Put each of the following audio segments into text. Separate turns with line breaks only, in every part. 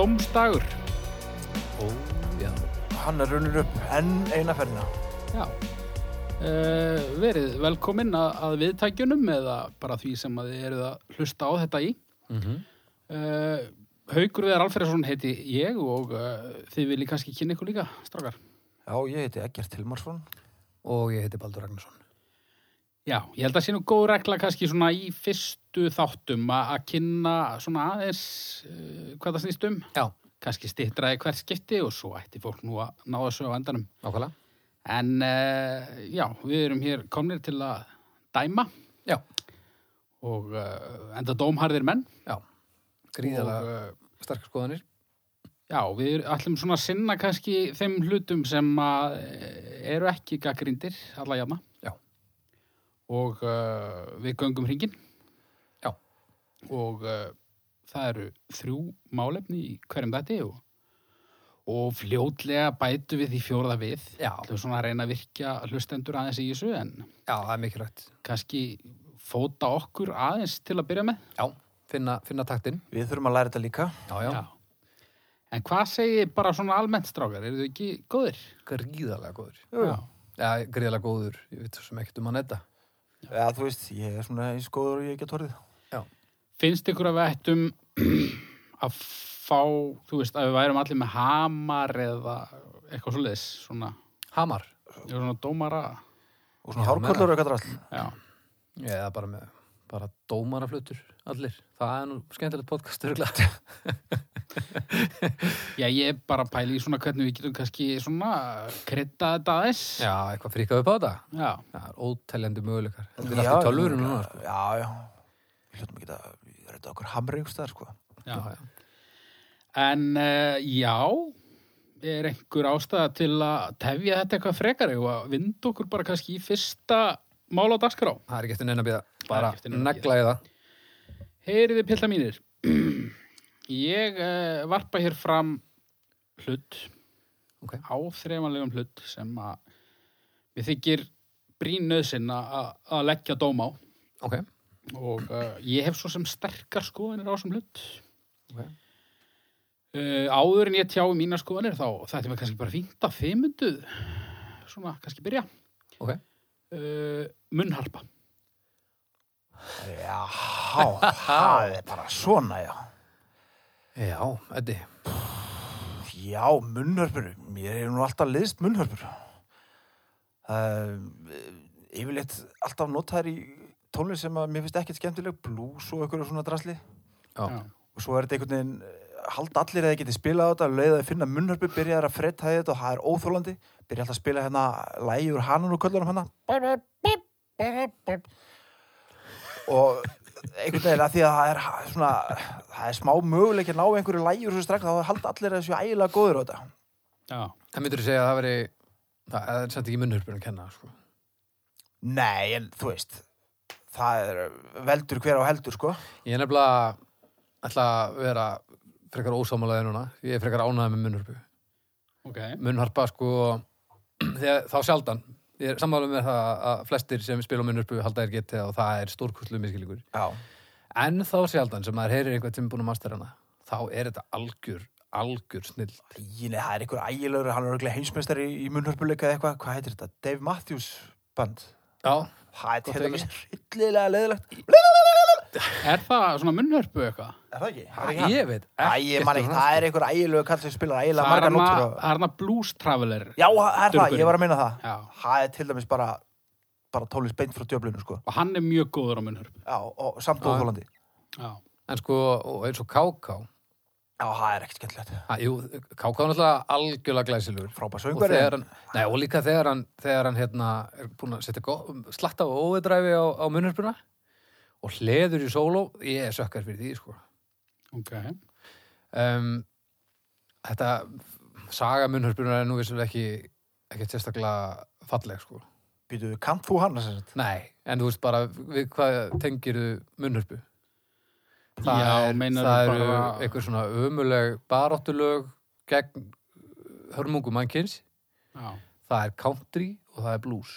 Ormsdagur
Ó, já.
Hann er runnur upp enn eina ferðina.
Já Uh, verið velkomin að, að viðtækjunum eða bara því sem að þið eruð að hlusta á þetta í
Mm
Mhm.
-hmm.
uh, Haukur Viðar Alfreðsson heiti ég og uh, þið viljið kannski kynna ykkur líka, strákar
Já, ég heiti Egert Hilmarsson.
Og ég heiti Baldur Ragnarsson.
Já, ég held að sé nú góð regla kannski svona í fyrstu þáttum að að kynna svona aðeins uh, hvað það snýst um.
Já,
Kannski stittraði hvert skipti og svo ætti fólk nú að ná þessu á endanum.
nákvæmlega.
En uh, já, við erum hér komnir til að dæma
Já,
og uh, enda dómharðir menn.
já.
Og,
Gríðalega
uh,
starka skoðanir.
Já, við ætlum svona að sinna kannski þeim hlutum sem að eh, eru ekki gaggrindir, alla jafna.
Já.
Og uh, við göngum hringin.
Já.
Og uh, það eru þrjú málefni í hverjum þetta og, og fljótlega bætu við því fjórða við.
Já,
Það er svona að reyna að virkja hlustendur aðeins í þessu en
já, það er mikilvægt.
kannski fóta okkur aðeins til að byrja með.
Já, finna, finna taktinn.
Við þurfum að læra þetta líka.
Já, já,
En hvað segir bara svona almennt strákar? Eru þau ekki góðir?
Gríðalega góður.
Jú, jú.
Já, gríðalega góður. Ég veit svo sem ekkert um hann þetta.
Já, þú veist, ég er svona eins góður og ég get horfið.
Finnst ykkur að við ættum að fá, þú veist, að við værum allir með hamar eða eitthvað svoleiðis, svona,
Hamar.
ég er svona dómara,
Já,
Og svona hárkollur
meina.
og eitthvað drall.
já,
Ég er bara með, bara dómaraflutur allir. Það er nú skemmtilegt podcast, örgulega.
já, ég er bara að pæla í svona hvernig við getum kannski svona krydda þetta aðeins,
Já, eitthvað fríkað upp á þetta.
já,
Já, það er óteljandi möguleikar. Þetta er
Já,
alltaf tölvur
ég-
núna,
Já, já. Við hlutum ekki að við erum þetta okkur hamri ykkur staðar, sko.
já.
sko.
En uh, já, er einhver ástæða til að tefja þetta eitthvað frekar og vinda okkur bara kannski í fyrsta mál á dagskrá.
Það er ekki eftir neina að býða.
er
Bara
ekki eftir neinu að
negla í það.
Heyriði pilla mínir, ég uh, varpa hér fram hlut
Ok.
áþreifanlegum hlut sem að við þykir brín nöðsinn að að leggja dóm á
Ok.
og uh, ég hef svo sem sterkar skoðanir á þessum hlut.
Ok.
Uh, áður en ég tjái mína skoðanir þá þetta var kannski bara fínt að þið mynduð svona kannski byrja.
Ok.
Uh, munnharpa.
Já, það er bara svona, já.
Já, Eddi.
Já, munnhörpur. Mér hefur nú alltaf liðst munnhörpur. Það er yfirleitt alltaf notaðar í tónlist sem að mér finnst ekkert skemmtileg, blues og einhverju svona drasli.
Já.
Já.
Og svo er þetta einhvern veginn, eh, halda allir að þið getið spilað á þetta, leið að finna munnhörpu, byrjaðar að fretta þetta og það er óþólandi. Byrja alltaf að spila hérna lægi úr hanun og köllunum hérna. Og einhvern veginn að því að það er ha- svona, það er smá möguleik að ná einhverju lægi úr þessu strax, þá halda allir að þessu ægilega góður á þetta.
Já.
En myndur þú segja að það veri, það það er samt ekki munnhörpunum að kenna, sko.
Nei, en þú veist það er veldur hver á heldur sko
Ég er nefnilega, ætla að vera frekar ósámálaðið núna. Ég er frekar ánæðið með munnhörpu.
Ok.
Munnharpa, sko, þegar, þá sjaldan. Ég er sammálaðið með það að flestir sem spila á munnhörpu halda er getið og það er stórkustlu miskilíkur.
Já,
En þá sjaldan sem maður heyrir einhvern sem er búin að mastera hana, þá er þetta algjör, algjör snill.
Æ, nei, það er einhver ægilegur hann er örglega heimsmeistari í, í munnhörpuleika eða eitthvað hvað heitir þetta? Dave Matthews band
Já,
Það er
Gott
til
ekki.
dæmis hryllilega leðilegt
Er það svona munnharpu eitthvað?
Er það ekki?
Ha, ég sko. veit
Æ, ég man ekki, það er einhver ægilegur kall sem spilar ægilega
Það er
margar
hana,
nóttur og...
það er hana blues traveler.
Já, það er það,
Durgurinn.
ég var að meina það
Já.
Það er til dæmis bara bara tólið beint frá djöflinu sko
Og hann er mjög góður á munnharpu.
Já, og samt óþólandi
Já.
En sko, og eins og Káká
Já, það er ekkert skemmtilegt
ha, Jú, Káká er náttúrulega algjörlega glæsilegur
Frábær
Og
söngveri
þegar hann, nei, og líka þegar hann þegar hann hérna er búin að setja gó- slatta og óveidræfi á, á munnurpuna og hleður í sóló ég er sökkar fyrir því, sko
Ok.
um, Þetta saga munnurpuna er nú vissulega ekki ekki sérstaklega falleg, sko
Býtu, kant þú hann sem sagt?
Nei, en þú veist bara við hvað tengir þú munnurpu? Það,
Já,
er,
meinarðu
það eru
bara-
einhver svona ömuleg baráttulög gegn hörmungu mannkyns.
Já.
Það er country og það er blues.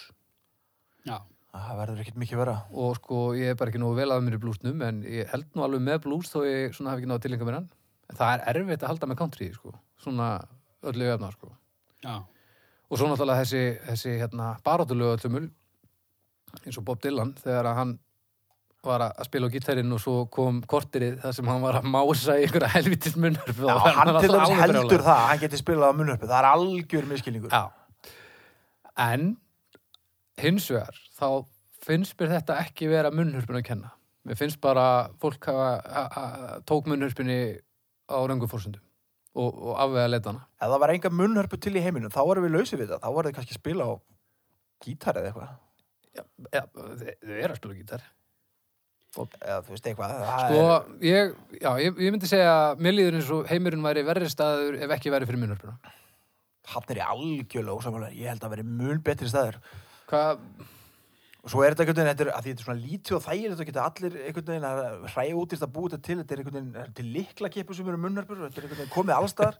Já.
Það verður ekkert mikið vera
Og sko, ég er bara ekki nógu vel að mér í bluesnum, en ég held nú alveg með blues þó ég svona hafi ekki náðu tilenga mér hann. það er erfitt að halda með country sko. svona öllu öfna sko.
já,
og svo náttúrulega þessi, þessi hérna, baráttulegu öllumul eins og Bob Dylan þegar að hann var að spila á gítarinn og svo kom korterið þar sem hann var að mása í einhverja helvitis munnur
Já, hann til dæmis heldur það, að hann geti spilað á munnurpi, það er algjör miskilningur.
Já. En hins vegar, þá finnst mér þetta ekki vera munnhörpun að kenna. Mér finnst bara fólk hafa, ha, ha, tók munnhörpunni á röngu fórsöndum og, og afvega leita hana.
Ef það var enga munnurpu til í heiminum, þá varum við lausið við það, þá varum við kannski að spila á gítar eða eitthvað.
Ja, þau, þau eru að spila gítar.
Eða þú veist eitthvað, það
Sko, ég, já, ég, ég myndi segja að mér líður eins og heimurinn væri verri staður ef ekki væri fyrir munnhörpuna.
er hann er í algjörlega ósamlega, ég held að veri mun betri staður.
Hvað,
Og svo er þetta einhvern veginn, þetta er, að því þetta er svona lítið og þægilegt og geta allir einhvern veginn að hræja út í þetta búið þetta til, þetta er einhvern veginn það eru til likla kipur sem eru munnarpur, þetta er einhvern veginn komið allstaðar.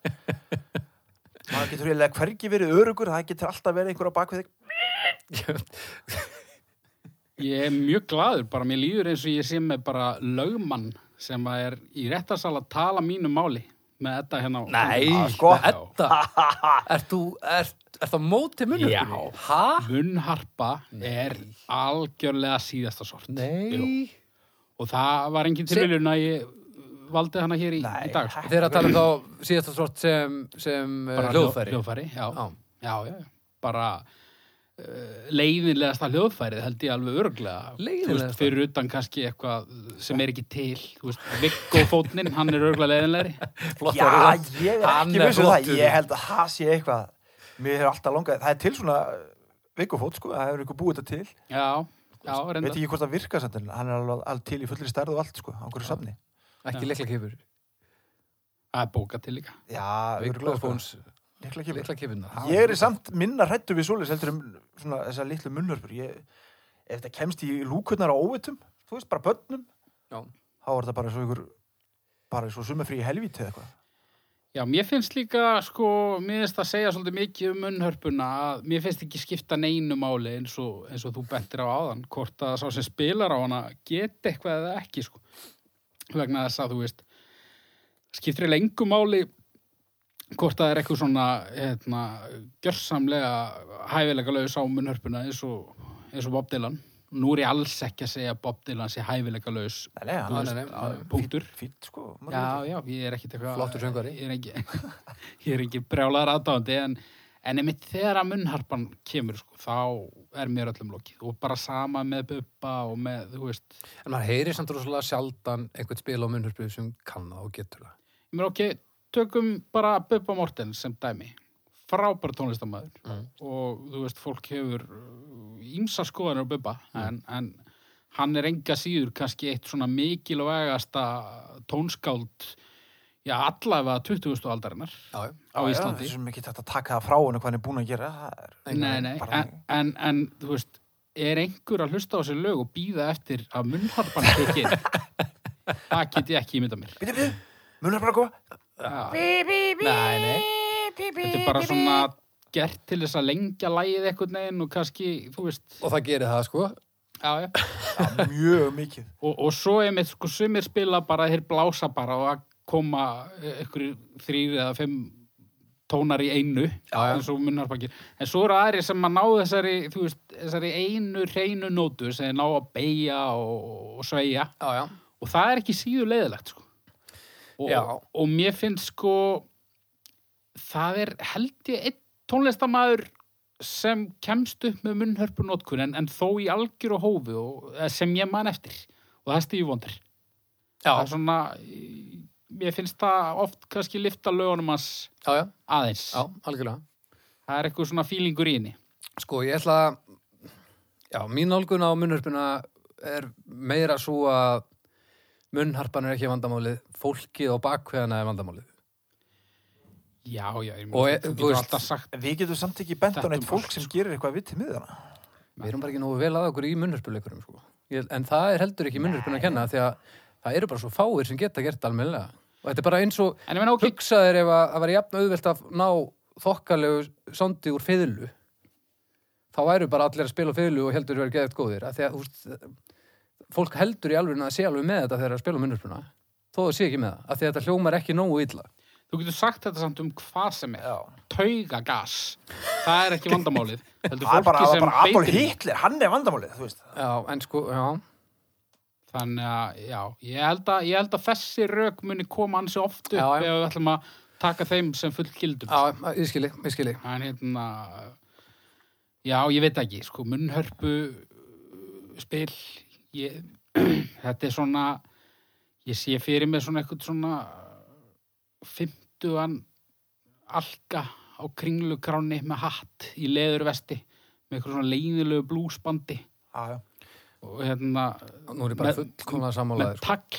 Það getur eiginlega hvergi verið örugur, það getur alltaf verið einhver á bakvið þig.
ég er mjög glaður bara mér líður eins og ég sé með bara lögmann sem að er í réttarsal að tala mínu máli með þetta hérna á-
nei,
Já, sko.
sko, þetta, ert þú, ert, ert það móti munnhörpunni?
Já.
Hæ?
Munnharpa er algjörlega síðasta sort Jú.
Nei.
og það var engin
Se-
tilviljun að ég valdi hana hér í, í dag sko.
Þeir eru að tala um þá síðasta svort sem, sem uh,
Bara
hljóðfæri.
hljóðfæri já.
Já.
Já, já, já. bara uh, leiðinlegasta hljóðfærið held ég alveg örglega
Leiðinlegasta?
fyrir utan kannski eitthvað sem er ekki til Þú veist, Viggo fótnin, hann er örglega leiðinlegri
Já, ég er
Hann
ekki
er
vissu það,
flottur.
ég held að það sé eitthvað. Mér hefur alltaf langað, það er til svona eh, vikufót, sko, það hefur einhver búið þetta til.
já, já,
Sko, Veit
reynda
ekki hvort það virkar samt, en hann er alveg alveg til í fullri stærð og allt, sko, á einhverju safni.
Ekki leikla kipur.
það er bóka til líka
Já, örugglega, sko,
Viklofóns
Lykla kipur.
leikla kipurna.
Ég er samt minna hrættu við svoleiðis heldur um svona þessar litlu munnvörpur. Ég, ef þetta kemst í lúkurnar á óvitum, þú veist, bara börnum,
Já.
þá er þetta bara svo ykkur, bara svo sumafrí í helvíti eða eitthvað.
Já, mér finnst líka, sko, mér finnst það segja svolítið mikið um munnhörpuna að mér finnst ekki skipta neinu máli eins og, eins og þú bentir á áðan, hvort að sá sem spilar á hana geti eitthvað eða ekki, sko, vegna þess að þú veist, skiptir lengu máli hvort að það er eitthvað svona, hérna, gjörsamlega hæfilega laus á munnhörpuna eins og, eins og Bob Dylan. Nú er ég alls ekki að segja að Bob Dylan sé hæfilega laus,
Nei, nei, hann
Þú
er
veist,
nei, nei,
að- punktur.
fýtt, sko. maður
Já,
veit
já, ég er ekkit eitthvað
Flottur söngvari.
Ég er ekki, ég er ekki brjálar aðdáðandi en, en einmitt þegar að munnharpan kemur sko, þá er mér öllum lokið og bara sama með bubba og með, þú veist
En maður heyrir samt rosalega sjaldan einhvern spil á munnhörpu sem kann það og getur það.
ég meina ok, tökum bara Bubba Mortens sem dæmi frábær tónlistamæður
Mm.
og þú veist, fólk hefur ímsa skoðanur á Bubba
Mm.
en, en hann er enga síður kannski eitt svona mikilvægasta tónskáld já, allavega 20. aldarinnar
Já, já.
á
ekki. Já,
Íslandi
Já, þessum ekki tætt að taka það frá henni hvað hann er búin að gera. það er-
Nei, nei,
bara
en, en, en þú veist, er einhver að hlusta á þessi lög og býða eftir að munnharpan kikir? það get ég ekki ímynda mér.
Bíddu, bíddu, munnvörpur að koma.
Já,
Nei, nei.
þetta er bara svona gert til þess að lengja lægið einhvern veginn og kannski, þú veist,
Og það gerir það, sko.
já, já.
Já, mjög mikið.
Og, og svo er með, sko, sumir spila bara, þeir blása bara og að koma einhverju þrýr eða fimm tónar í einu,
Já, já.
eins og munnharpan gerir. En svo eru aðri sem að ná þessari, þú veist, þessari einu hreinu nótu sem þeir ná að beigja og, og sveigja.
Já, já.
og það er ekki síður leiðilegt sko. og,
Já.
og mér finnst sko það er held ég einn tónlistamæður sem kemst upp með munnhörpunótkun en, en þó í algjör og hófi og, eða sem ég man eftir og það er Stevie Wonder
Já,
það er svona í- mér finnst það oft kannski lifta lögunum hans
já, já.
aðeins
Já, algjörlega.
það er eitthvað svona fílingur í henni
Sko, ég ætla að, já, mín nálgun á munnhörpuna er meira svo að munnharpan er ekki vandamálið, fólkið á bakveðana er vandamálið.
já, já, ég
Og
mér,
e-
þú
þú
getur
veist-
alltaf sagt
En Við getum samt ekki bent á
Þetta
neitt
um
fólk sko.
allt,
sem gerir eitthvað við til miðana.
Við erum bara ekki nógu vel að okkur í munnhörpuleikurum sko. Ég- En það er heldur ekki munnhörpun að kenna því að það eru bara svo fáir sem geta gert almennilega. Og þetta er bara eins og
en ég meina ok,
hugsaðir ef að það væri jafn auðvelt að ná þokkalegu sondi úr fiðlu. Þá væru bara allir að spila á fiðlu og heldur verið geðið góðir. Af Því að úst, fólk heldur í alveg að sé alveg með þetta þegar það er að spila munnhörpuna. þó það sé ekki með það, af því að þetta hljómar ekki nógu illa.
Þú getur sagt þetta samt um hvað sem er.
Já.
Taugagas. Það er ekki vandamálið. Heldur
Það er bara,
fólki
það er
sem
bara Adolf
beitir því.
Hitler, hann er vandamálið, þú veist.
Já, en sko, já,
Þannig að, já, ég held að, ég held að þessi rök muni koma ansi oft upp
Já, já.
ef við ætlum að taka þeim sem fullgildum.
já, ég skili, ég skili.
En hérna, já, ég veit ekki, sko, munnhörpu uh, spil, ég, þetta er svona, ég sé fyrir mig svona eitthvað svona fymtugan alka á kringlukráni með hatt í leðurvesti með eitthvað svona leiðilegu blúsbandi
Já, já.
og hérna
Nú er ég bara
Með-
fullkomlega
með
sammálaður. sko.
takk.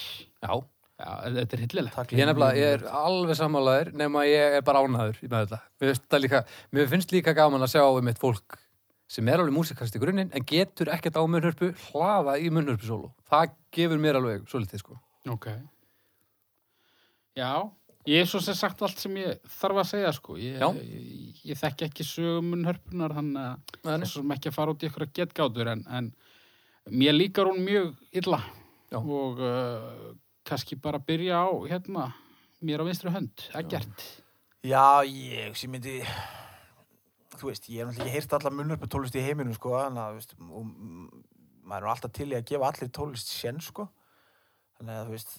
Já,
Já, þetta er hillilegt.
Takk
ég er nefnilega, ég er alveg sammálaður nema ég er bara ánaður í með þetta. Mér finnst, það líka, mér finnst líka gaman að sjá um eitt fólk sem er alveg músikast í grunninn en getur ekkert á munnhörpu hlaða í munnhörpu Það gefur mér alveg svolítið, sko.
Ok. Já, ég er svo sem sagt allt sem ég þarf að segja, sko. Ég,
Já.
ég, ég þekki ekki sögumun hörpunar, þannig að
Nei, nei.
þess eh, sem ekki að fara út í ykkur að getgátur, en, en mér líkar hún mjög illa
Já.
og uh, kannski bara byrja á, hérna, mér á vinstri hönd, ekkert.
Já, ég sem myndi þú veist, ég hef náttúrulega ekki heyrt alla munnurpa tólest í heiminum sko, en að, þú veist, og, mm, maður er nú alltaf til í að gefa allir tólest sén sko. þannig að þú veist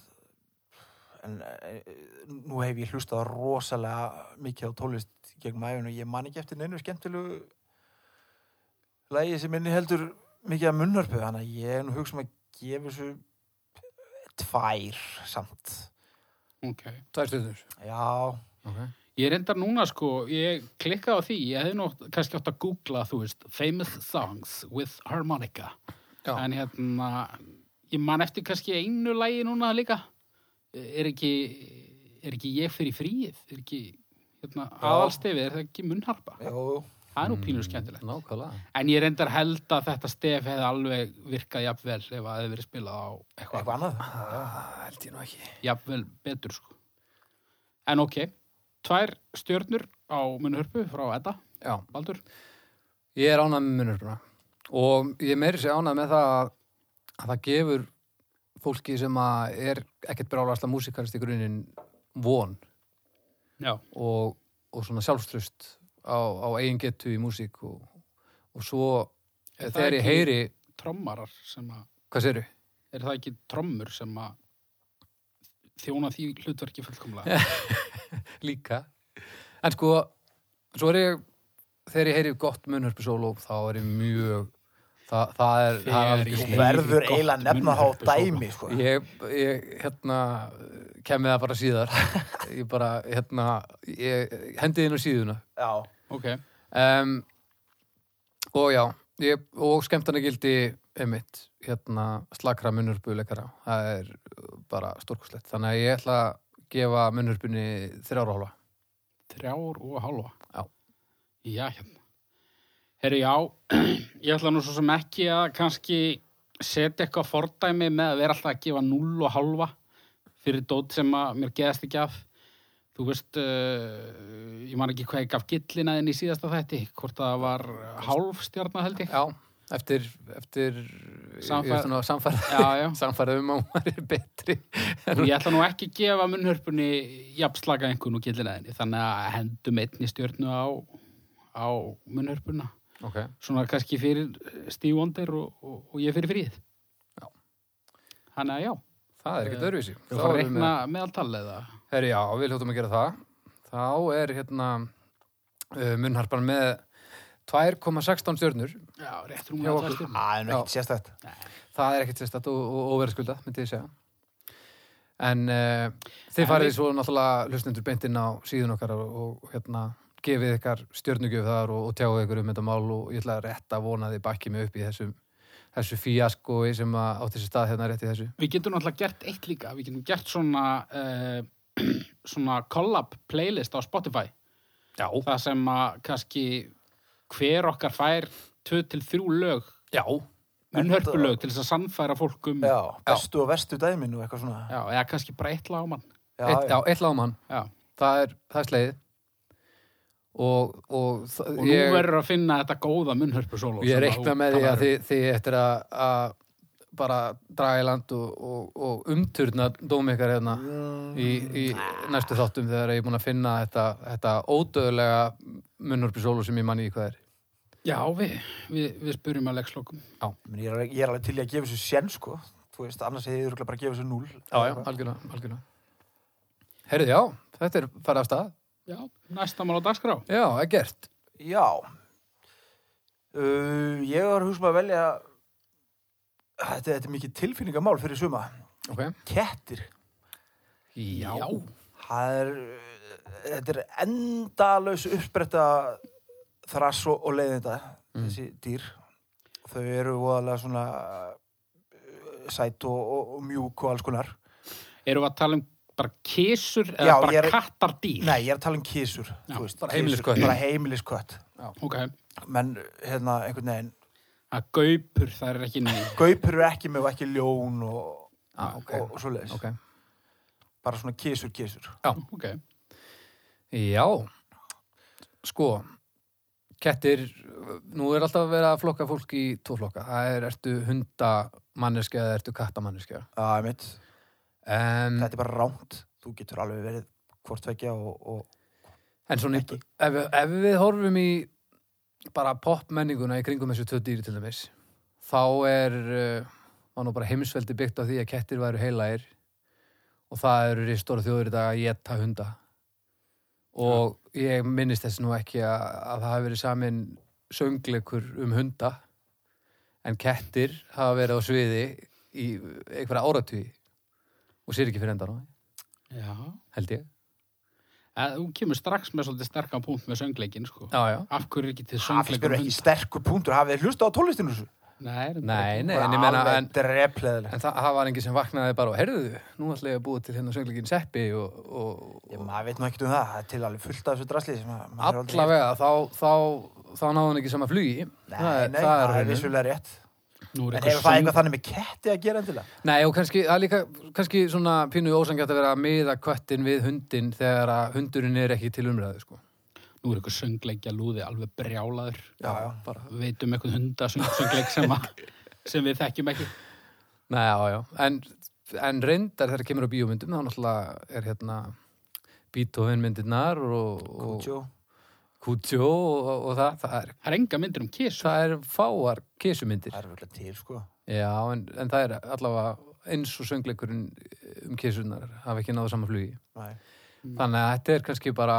en e, e, nú hef ég hlustað rosalega mikið á tólest gegn mæfun og ég man ekki eftir neinu skemmtilegu lægi sem minni heldur mikið að munnurpu þannig að ég er nú hugsa um að gefa þessu tvær samt
Ok.
Tvær stjórnur.
já,
Okay.
Ég reyndar núna, sko, ég klikkaði á því, ég hefði nú átt- kannski átt að googla, þú veist, famous songs with harmonica.
Já.
en hérna ég man eftir kannski einu lægi núna líka er ekki er ekki ég fyrir fríið er ekki hérna, aðalstefið er það ekki munnharpa
jú,
það er nú pínur skemmtilegt
Nákvæmlega.
en ég reyndar held að þetta stef hefði alveg virkað jafnvel ef að það hefði verið spilað á eitthvað
eitthvað annað já, já.
Ah, held ég nú ekki.
jafnvel betur sko en ok, tvær stjörnur á munnhörpu frá Edda
Já.
Baldur,
Ég er ánægð með munnurbruna og ég meiri sér ánægð með það að, að það gefur fólki sem að er ekkert brálasla músikalist í grunninn von
já,
og, og svona sjálfströst á, á eigin getu í músík og, og svo
Er það
þegar ég
ekki-
heyri,
trommarar sem að
hvað séru?
er það ekki trommur sem að þjóna því hlutverki fullkomlega
Líka. En sko, svo er ég, þegar ég heyri gott munnhörpu sóló þá er ég mjög, það, það er, það er
Þegar
algjör
ég
Þú
snilld.
verður
Gott
eiginlega að nefna þá
munnhörpu,
dæmi, sko.
Ég, ég hérna, kemur það bara síðar. Ég bara, hérna, ég hendi inn á síðuna.
Já,
ok,
Um, og já, ég, og skemmtana gildi einmitt, hérna, slakra munnurbuleikara. Það er bara stórkoslegt. Þannig að ég ætla að gefa munnurbunni þrjára hálfa.
þrjár og halva
Já.
já, hérna herru, já, ég ætla nú svo sem ekki að kannski setja eitthvað fordæmi með að vera alltaf að gefa 0 og halva fyrir dót sem að mér geðast ekki af þú veist uh, ég man ekki hvað ég gaf gillina þinn í síðasta þætti hvort það var hálf stjarnar held ég
Já, eftir, eftir,
Samfær-
samfærð,
já, já
samfærð um að maður er betri.
Ég ætla nú ekki að gefa munnhörpunni jafnslaka einhvern og gillinæðinni þannig að hendum einni stjörnu á, á munnhörpuna
ok,
svona kannski fyrir eh, Steve Wonder og, og, og ég fyrir fríð
Já.
Þannig að já,
það er ekkert öðruvísi.
þá
Þá
að
erum við með-
reikna meðaltal eða
Herri, já, við hljóttum að gera það. Þá er hérna uh, munnharpan með 2,16 stjörnur.
já, rétt rúm
Já,
með
okkur.
allar stjörnu
það er nú
Já.
ekkert sérstætt.
Það er ekkert sérstætt og, og, og verðskulda, myndi ég segja. En uh, þið
En
farið
við-
svo náttúrulega hlustendur beint inn á síðun okkar og, og hérna gefið ykkar stjörnugjöf þar og, og tjáðu ykkur um þetta mál og ég ætla að rétta að vona að þið bakki mig upp í þessum þessu fíaskoi sem að átti sér stað hérna rétt í þessu.
Við getum náttúrulega gert eitt líka við getum gert svona uh, svona collab playlist á Spotify
Já.
það sem að kannski hver okkar fær 2-3 lög
Já.
munnhörpulög til þess að sannfæra fólk um
Já, bestu og verstu dæmin og eitthvað svona.
Já, eða kannski bara eitt lag á mann.
Já,
Eitt, já, eitt lágmann.
Já.
Það er, það er slegið. Og, og,
Og nú verður að um. finna þetta góða munnhörpu sóló.
Ég reikna með því að þið, þið eftir að, að bara draga í land og, og, og umturna dómi ykkar hérna
Mm,
í, í næstu þáttum þegar ég er búin að finna þetta, þetta ódöðlega munnurpisólu sem ég manni í hvað er.
Já, við, við, við spurum að leikslokum.
Men ég, er alveg, ég er alveg til í að gefa þessu sén sko þú veist, annars hefði ég örugglega bara að gefa þessu núl
Algjörlega, algjörlega. Herrið, já, þetta er farið af stað.
Já, næsta mál á dagskrá.
Já, það er gert.
Já uh, Ég var að hugsa maður að velja þetta, þetta er mikið tilfinningamál fyrir suma
Ok.
Kettir
Já.
Það er, þetta er endalaus uppbreyta þrass og, og leiðinda
Mm.
þessi dýr þau eru voðalega svona eh, sæt og, og, og mjúk og alls konar
Erum við að tala um bara kísur eða
Já, ég
bara
er-
kattardýr?
Nei, ég er að tala um kísur
Já,
þú veist,
bara
kisur,
heimiliskött.
bara heimiliskött
Ok,
menn hérna einhvern veginn
að gaupur, það er ekki neitt.
gaupur eru ekki með og ekki ljón og,
Ah, ok.
og, og svoleiðis
Ok.
bara svona kísur, kísur
Ok,
Já, sko, kettir, nú er alltaf verið að flokka fólk í tvo flokka. Það er, ertu hundamanniski eða ertu kattamanniski.
að, mitt,
En,
þetta er bara rámt þú getur alveg verið hvort vekja og, og
en svona,
ekki.
í- ef, við- ef við horfum í bara popmenninguna í kringum þessu tvö dýri til dæmis, þá er, uh, var nú bara heimsveldi byggt á því að kettir væru heilagir og það eru í stóra þjóður í dag að geta hunda. Og ég minnist þess nú ekki að, að það hafi verið samin söngleikur um hunda en kettir hafa verið á sviði í einhverja áratugi og sér ekki fyrir endan á því,
já.
held ég.
Eða, þú kemur strax með svolítið sterkan punkt með söngleikin, sko.
Já, já.
Af hverju er ekki til
það
söngleikur
er ekki sterkur punktur hafið þið hlusta á tólestinu þessu
Nei, er þetta
Nei,
ekki?
nei, en ég menna en,
drepleðileg
en það, það var engin sem vaknaði bara og heyrðu, nú ætla ég að búa til hérna söngleikin Seppi og, og,
Ég,
og
maður veit nú ekkert um það, það er til alveg fullt af þessu drasli sem maður maður hefur aldrei heyrt.
allavega þá, þá, þá náði hann ekki sama flugi.
Nei,
það, er-
nei,
það er
það er
raunin.
vissulega rétt
Nú er
En
eitthvað
hefur það
söng...
eitthvað þannig með ketti að gera endilega?
Nei, og kannski, það er líka, kannski svona pínu ósangjætt að vera að miða köttin við hundin þegar að hundurinn er ekki til umræðu, sko.
Nú er eitthvað söngleikja lúði alveg brjálaður.
Já, já,
Bara.
Við Veitum eitthvað hundasöngleik sem, að- sem við þekkjum ekki.
Nei, já, já. En, en reyndar þegar kemur á bíómyndum, þá náttúrulega er hérna Beethoven-myndirnar og, og
Kútjó
Kútjó og, og, og það, það er,
Það er enga myndir um kísur.
það er fáar kisumyndir.
Það er vel til, sko
Já, en, en það er allavega eins og söngleikurinn um kisunar hafa ekki náðu sama flugi.
Nei.
Mm.
Þannig að þetta er kannski bara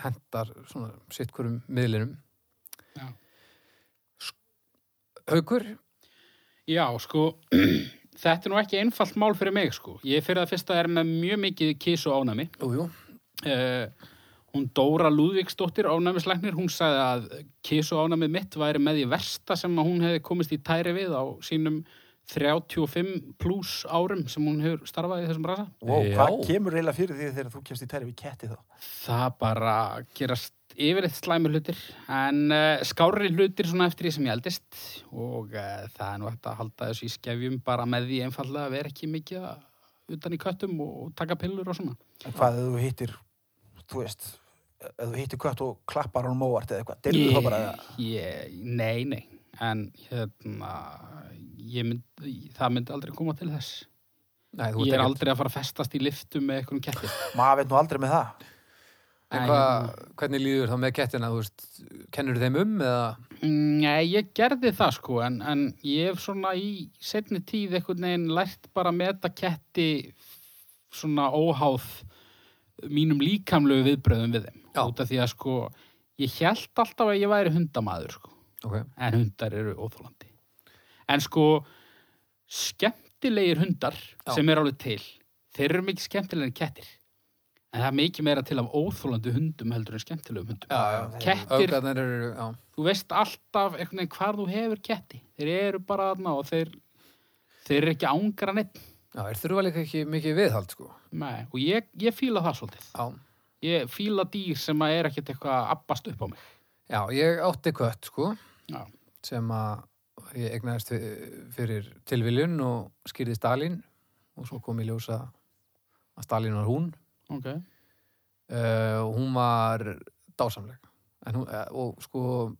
hendar svona sitt hverjum miðlinum.
Já.
Haukur?
Já, sko, þetta er nú ekki einfalt mál fyrir mig, sko. Ég fyrir það fyrsta er með mjög mikið kísu ánæmi.
Jú, jú.
Eh, hún Dóra Lúðvíksdóttir ánæmislegnir, hún sagði að kísu ánæmið mitt væri með því versta sem að hún hefði komist í tæri við á sínum 35 pluss árum sem hún hefur starfað í þessum rasa.
Wow,
Já.
hvað kemur reyla fyrir því þegar þú kemst í tæri við ketti þá?
Það bara gerast yfirleitt slæmi hlutir, en uh, skári hlutir svona eftir því sem ég eldist og uh, það er nú hægt að halda þessu í skefjum bara með því einfallega að vera ekki mikið að- utan í köttum og, og taka pillur og svona.
En hvað ef þú hittir, þú veist ef þú hittir kött og klappar honum óvart eða eitthvað, deyrðu þá bara
ég, ég, Nei, nei En hérna ég mynd, Það myndi aldrei koma til þess
Nei,
Ég
þú
er
ekkert-
aldrei að fara að festast í liftum með einhverjum ketti
maður veit nú aldrei með það
En hvað, hvernig líður þá með kettina, þú veist, kennur þeim um eða?
Nei, ég gerði það sko en, en ég hef svona í setni tíð einhvern veginn lært bara að meta ketti svona óháð mínum líkamlegu viðbröðum við þeim
Já.
út af því að sko ég held alltaf að ég væri hundamaður sko
Ok,
en hundar eru óþólandi. En sko, skemmtilegir hundar
Já.
sem eru alveg til, þeir eru mikið skemmtilegir en kettir. En það er mikið meira til af óþólandi hundum heldur en skemmtilegum hundum.
Já,
já.
Kettir,
auðgarnir eru, já.
þú veist alltaf einhvern veginn hvar þú hefur ketti. Þeir eru bara þarna og þeir, þeir eru ekki ángra neitt.
Já, er þurfa líka ekki mikið viðhald, sko.
Nei, og ég, ég fíla það svolítið.
Já.
Ég fíla dýr sem að er ekkert eitthvað að abbast upp á mig.
Já, ég átti kött, sko.
Já.
sem að ég egnaðist fi- fyrir tilviljun og skýrði Stalin og svo kom í ljósa að Stalin var hún
Ok.
uh, hún var dásamleg en hún, uh, og sko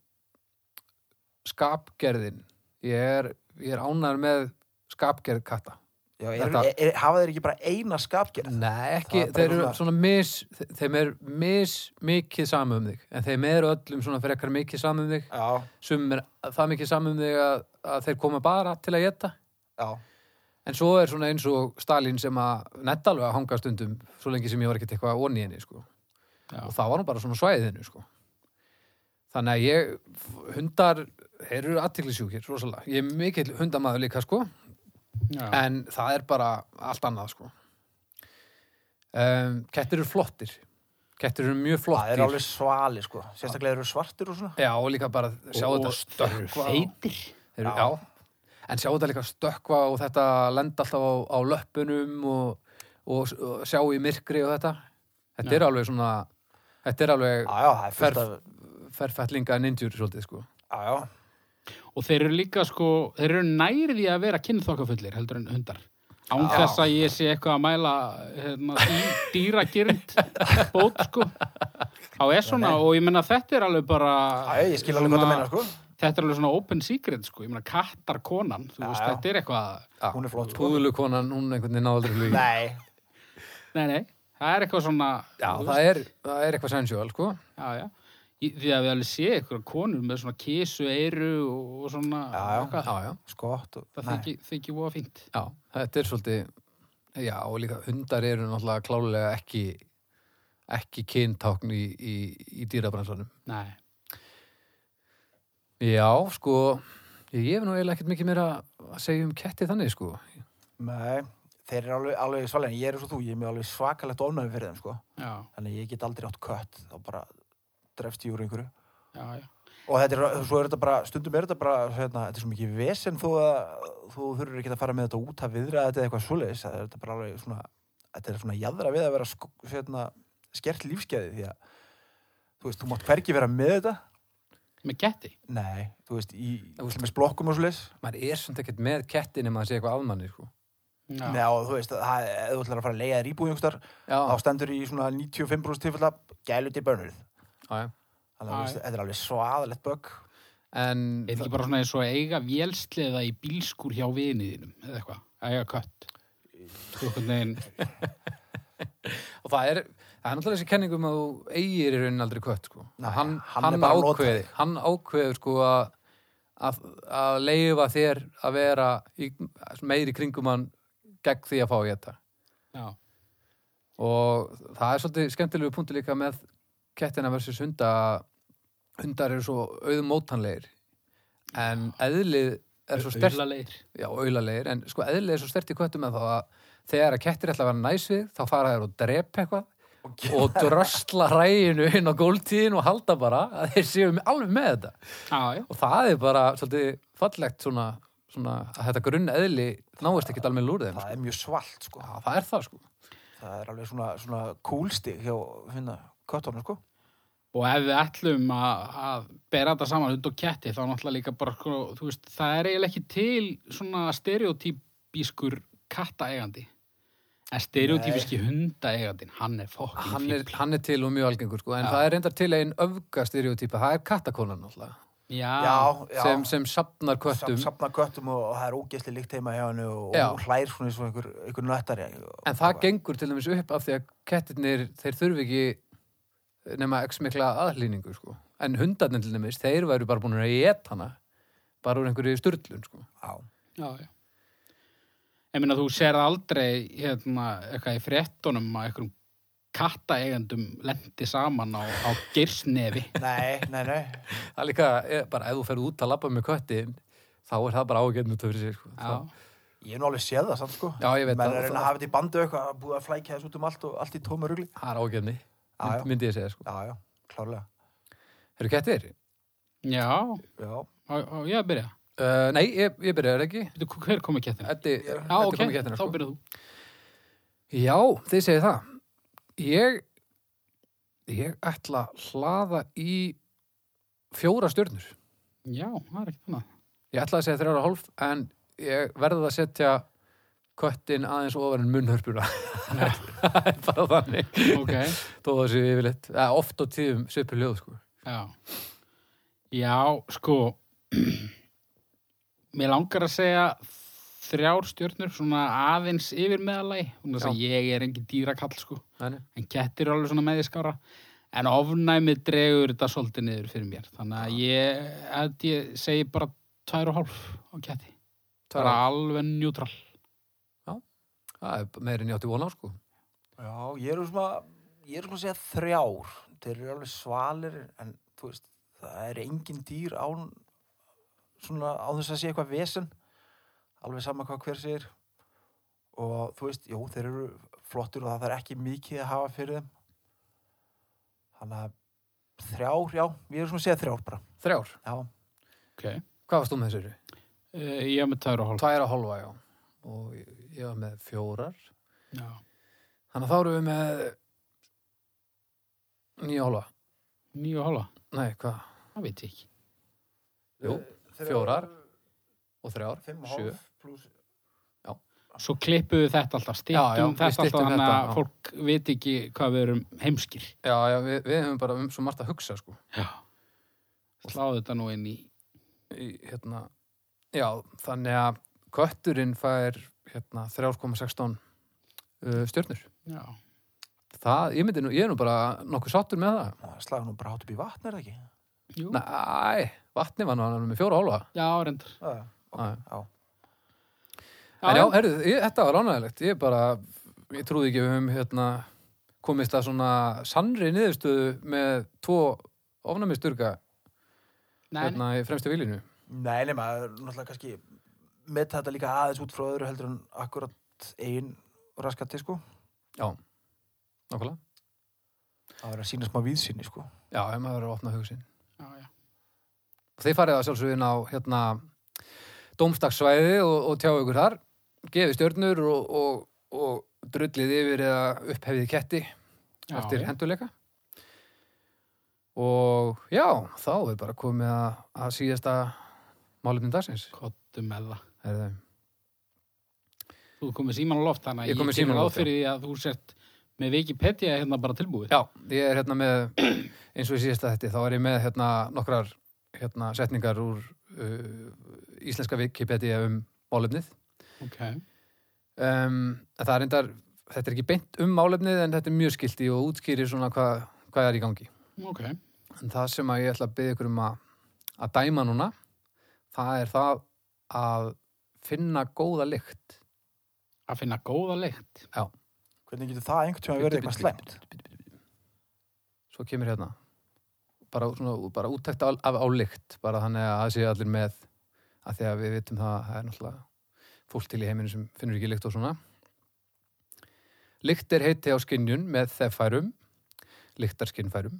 skapgerðin ég er, ég er ánæður með skapgerð katta
Já, er,
Þetta-
er, hafa þeir ekki bara eina skapgerð?
Nei, ekki,
Það er bara
þeir eru
svona-
svona mis þe- þeim er mis mikið sami um þig en þeim eru öllum svona frekar mikið sami um þig
Já,
sumum er það mikið sami um þig að, að þeir koma bara til að geta
já,
en svo er svona eins og Stalin sem að netta alveg að hanga stundum svo lengi sem ég var ekkert eitthvað onni henni sko.
Já.
og það var nú bara svona á svæðinu sko. þannig að ég hundar eru aðtiklisjúkir rosalega, ég er mikill hundamaður líka sko
Eh,
Já.
en það er bara allt annað sko um, kettir eru flottir kettir eru mjög
það
flottir
er alveg svali sko Sérstaklega eru svartir og svona
já, og líka bara sjá
Og-
þetta
og
stökkva og-
Feitir.
þeir eru,
Já.
já. en sjá þetta líka stökkva og þetta lenda alltaf á, á löppunum og, og, og sjá í myrkri og þetta þetta
Já.
er alveg svona þetta er alveg
Já, já, það er fullt af
Ferf- ferfætlinga ninjur svolítið sko
Já, já,
Og þeir eru líka sko, þeir eru nærði að vera kynþokkafullir heldur en hundar. Án
Já.
þess að ég sé eitthvað að mæla hérna, dýragirnd bót sko. Á er svona og ég menna þetta er alveg bara...
já, ég skil alveg hvað það meina sko
Þetta er alveg svona open secret sko, ég meina kattar konan, þú
Já,
veist,
já.
þetta er eitthvað...
Hún er flott, sko.
púðulukonan, hún einhvern veginn náður lúi
Nei,
Nei, nei, það er eitthvað svona...
já,
þú
það er, það er eitthvað sensual sko
Já, já. Í- Því að við alveg sé ykkur konur með svona kísu, eyru og, og svona...
Já, já.
eitthvað.
já, já,
skott og...
Það
Nei.
þykir, þykir voða fínt.
já, þetta er svolítið já, og líka hundar eru náttúrulega klálega ekki ekki kyntákn í, í, í dýrabransanum
Nei.
Já, sko, ég hef nú eiginlega ekkert mikið meira að segja um ketti þannig, sko.
Nei, þeir eru alveg, alveg svalir en ég er eins og þú, ég er mjög alveg svakalegt ofnaði fyrir þeim sko
Já,
Þannig að ég get aldrei átt kött þá bara drefst ég úr einhverju
já, já.
og þetta er, svo er þetta bara, stundum er þetta bara hérna, þetta er svo mikið vesen þó að þú þurfur ekki að fara með þetta út að viðra þetta eða eitthvað svoleiðis, það er þetta bara alveg svona þetta er svona jæðra við að vera sko, hérna, skert lífskeiði því að þú veist, þú mátt hvergi vera með þetta
Með getti.
nei, þú veist, í
Þú veist-
til með blokkum og svoleiðis
Maður er svona ekkert með ketti nema að sé eitthvað afmanni, sko.
Já,
Nei, og þú veist, það, ef þú ætlar að fara að leiða þér íbúið einhverstar, þá
Já,
stendur í svona 95% tilfella gælu til bönnuð
já, já.
þannig að þú
Já,
veist, þetta er alveg svaðalegt bögg
En,
Er ekki bara svona eins og að eiga vélsleða í bílskur hjá viniðinum, eða eitthvað, að eiga kött. Þú veist hvernig,
og það er, það er náttúrulega þessi kenningum að þú eigir í raunin aldrei kött, sko.
Nei,
hann,
hann
hann,
er bara að nota
ákveði,
þig.
hann ákveður, sko, að, að, að leifa þér að vera í, meiri kringum hann gegn því að fá ég þetta.
já,
og það er svolítið skemmtilegu punktu líka með kettina versus hunda að hundar eru svo auðmótanlegir en eðlið er svo stert
aulalegir.
já, auðalegir, en sko eðlið er svo stert í köttum en þá að þegar að kettir ætla að vera næsvið þá fara þær og drepa eitthvað og drösla ræginu inn á góltíðin og halda bara að þeir séu alveg með þetta
Já, já.
og það er bara svolítið fallegt svona, svona að þetta grunn eðli náist ekkit alveg lúr þeim
það
sko.
er mjög svalt, sko
já, það er það sko
það er alveg svona, svona kúlstig hjá finna köttunum sko
Og ef við ætlum að, að bera þetta saman hund og ketti, þá náttúrulega líka bara, sko, þú veist, það er eiginlega ekki til svona stereotypískur kattaegandi. En stereotypíski hundaegandin, hann er fokkin
hann er,
fíbl.
hann er til og mjög algengur sko, en
Já.
það er reyndar til einn öfga stereotýpa, það er kattakonan náttúrulega,
Já,
já, já,
sem, sem sapnar köttum,
Sap- safna köttum og, og það er ógeðsli líkt heima hjá hennu og,
Já.
og hlær svona eins og einhver, einhver nöttari
en það gengur til dæmis upp af því að kettirnir, þeir þurfi ekki nema ekki mikla aðlýningu sko. en hundarnir til dæmis, þeir væru bara búin að get hana bara úr einhverju styrlun sko.
já,
já, já. Ég meina, þú sér aldrei, hérna, eitthvað í fréttunum að einhverjum kattaegandum lendi saman á, á geirsnefi.
nei, nei, nei
það er líka, eh, bara ef þú ferð út að labba með köttin, þá er það bara ágætt út af fyrir sig sko.
Já,
ég er nú alveg séð það samt sko
Já, ég veit
menn
það.
er að reyna að hafa þetta í bandu eitthvað búið að flækja þessu út um allt og allt í tóma rugli
það er ágætni,
Já, já.
mynd, myndi ég segja sko.
já, já, klárlega
eru kettir?
já,
já,
á, á, ég að byrja.
Uh, nei, ég, ég byrjaði ekki
Bíddu, Hver kom í kettina?
Eddi,
Já,
Já,
Eddi
ok,
kom sko. í kettina,
þá byrjaðu. þú.
Já, þið segir það. Ég, ég ætla að hlaða í fjóra stjörnur.
Já, það er ekkert annað.
Ég ætla að segja þrjára hálf, en ég verði að setja köttin aðeins ofar en munnhörpuna. Það er bara þannig.
Ok,
Þó það séu yfirleitt. Eða, oft á tíðum svipu ljóð, sko.
já. Já, sko, mér langar að segja þrjár stjörnur svona aðeins yfir meðalagi hún er að ég er engin dýrakall sko
Þannig.
en kettir eru alveg svona með í skára en ofnæmið dregur þetta svolítið niður fyrir mér þannig að ég, að ég segi bara tvær og hálf á ketti
Tvær
bara
ár.
alveg njútrál
Það er meira en ég átti von á sko.
Já, ég er svona, ég er svona að segja þrjár. Þeir eru alveg svalir en þú veist, það er engin dýr án svona á þess að sé eitthvað vesen. Alveg sama hvað hver segir. Og þú veist, jú, þeir eru flottur og það þarf ekki mikið að hafa fyrir þeim. Þannig að þrjár, já, ég er svona að segja þrjár bara.
Þrjár.
Já,
okay.
Hvað varst þú með þessu?
uh, ég er með tvær og hálf
Tvær að hálfa, já. Og ég, ég var með fjórar.
já.
Þannig að þá erum við með nýja hálfa.
níu og hálfa,
Nei, hvað?
það veit ég ekki
Jú, fjórar. og þrjár,
Eh, Fimm og
sjö.
hálf pluss
svo klippuðu þetta alltaf, stýttum
Já, já, við
þetta alltaf
styttum
þannig
þetta,
að
já.
fólk veit ekki hvað við erum heimskir
Já, já, við, við hefum bara um svo margt að hugsa, sko.
sláðu þetta nú inn í
Í, hérna, já, þannig að kötturinn fær hérna, 3,16 uh, stjörnur.
já.
Það, ég myndi nú, ég er nú bara nokkuð sáttur með það.
Slaga nú bara hátt upp í vatn, er það ekki?
Jú.
Næ, vatni var nú hann með fjóra hálfa.
já, reyndar
Já, ok,
Já.
já.
En já, herru, ég, þetta var ránægilegt. Ég bara, ég trúði ekki að við höfum hérna, komist að svona sannri niðurstöðu með tvo ofnæmisturka
Nei, nei.
hérna í fremstu viljinu.
Nei, nema, það er náttúrulega kannski með þetta líka aðeins út frá öðru heldur en akkurat ein raskati, sko.
Nákvæmlega.
Það verður að sína smá víðsýni, sko.
Já, ef maður er að opna hugsin.
já, já.
Og Þið farið að sjálfsögðu inn á hérna, dómstakssvæði og, og tjáu ykkur þar, gefið stjörnur og, og, og drullið yfir eða upphefið ketti
Já,
eftir
já.
henduleika. Og já, þá er bara komið að, að síðasta málefnin dagsins.
Kottu með það.
Herðu.
Þú er komið síman á loft, þannig að
Ég er kominn
ég
símann
gerir ráð
á loft, já.
fyrir því að þú sért með Wikipedia hérna bara tilbúið.
Já, ég er hérna með, eins og í síðasta þetta, þá er ég með hérna nokkrar hérna, setningar úr uh, íslenska Wikipedia um málefnið.
Ok.
um, en það er endar þetta er ekki beint um málefnið en þetta er mjög skilti og útskýrir svona hvað, hvað er í gangi
Ok.
en það sem að ég ætla að byggja ykkur um að, að dæma núna það er það að finna góða lykt
Að finna góða leikt.
Hvernig getur það einhvern tíma verið eitthvað slæmt?
svo kemur hérna bara, svona, bara úttækt á, af, á lykt bara þannig að það sé allir með að því að við vitum það að það er náttúrulega fólk til í heiminu sem finnur ekki lykt og svona Lykt er heiti á skinnjun með þeffærum lyktarskinnfærum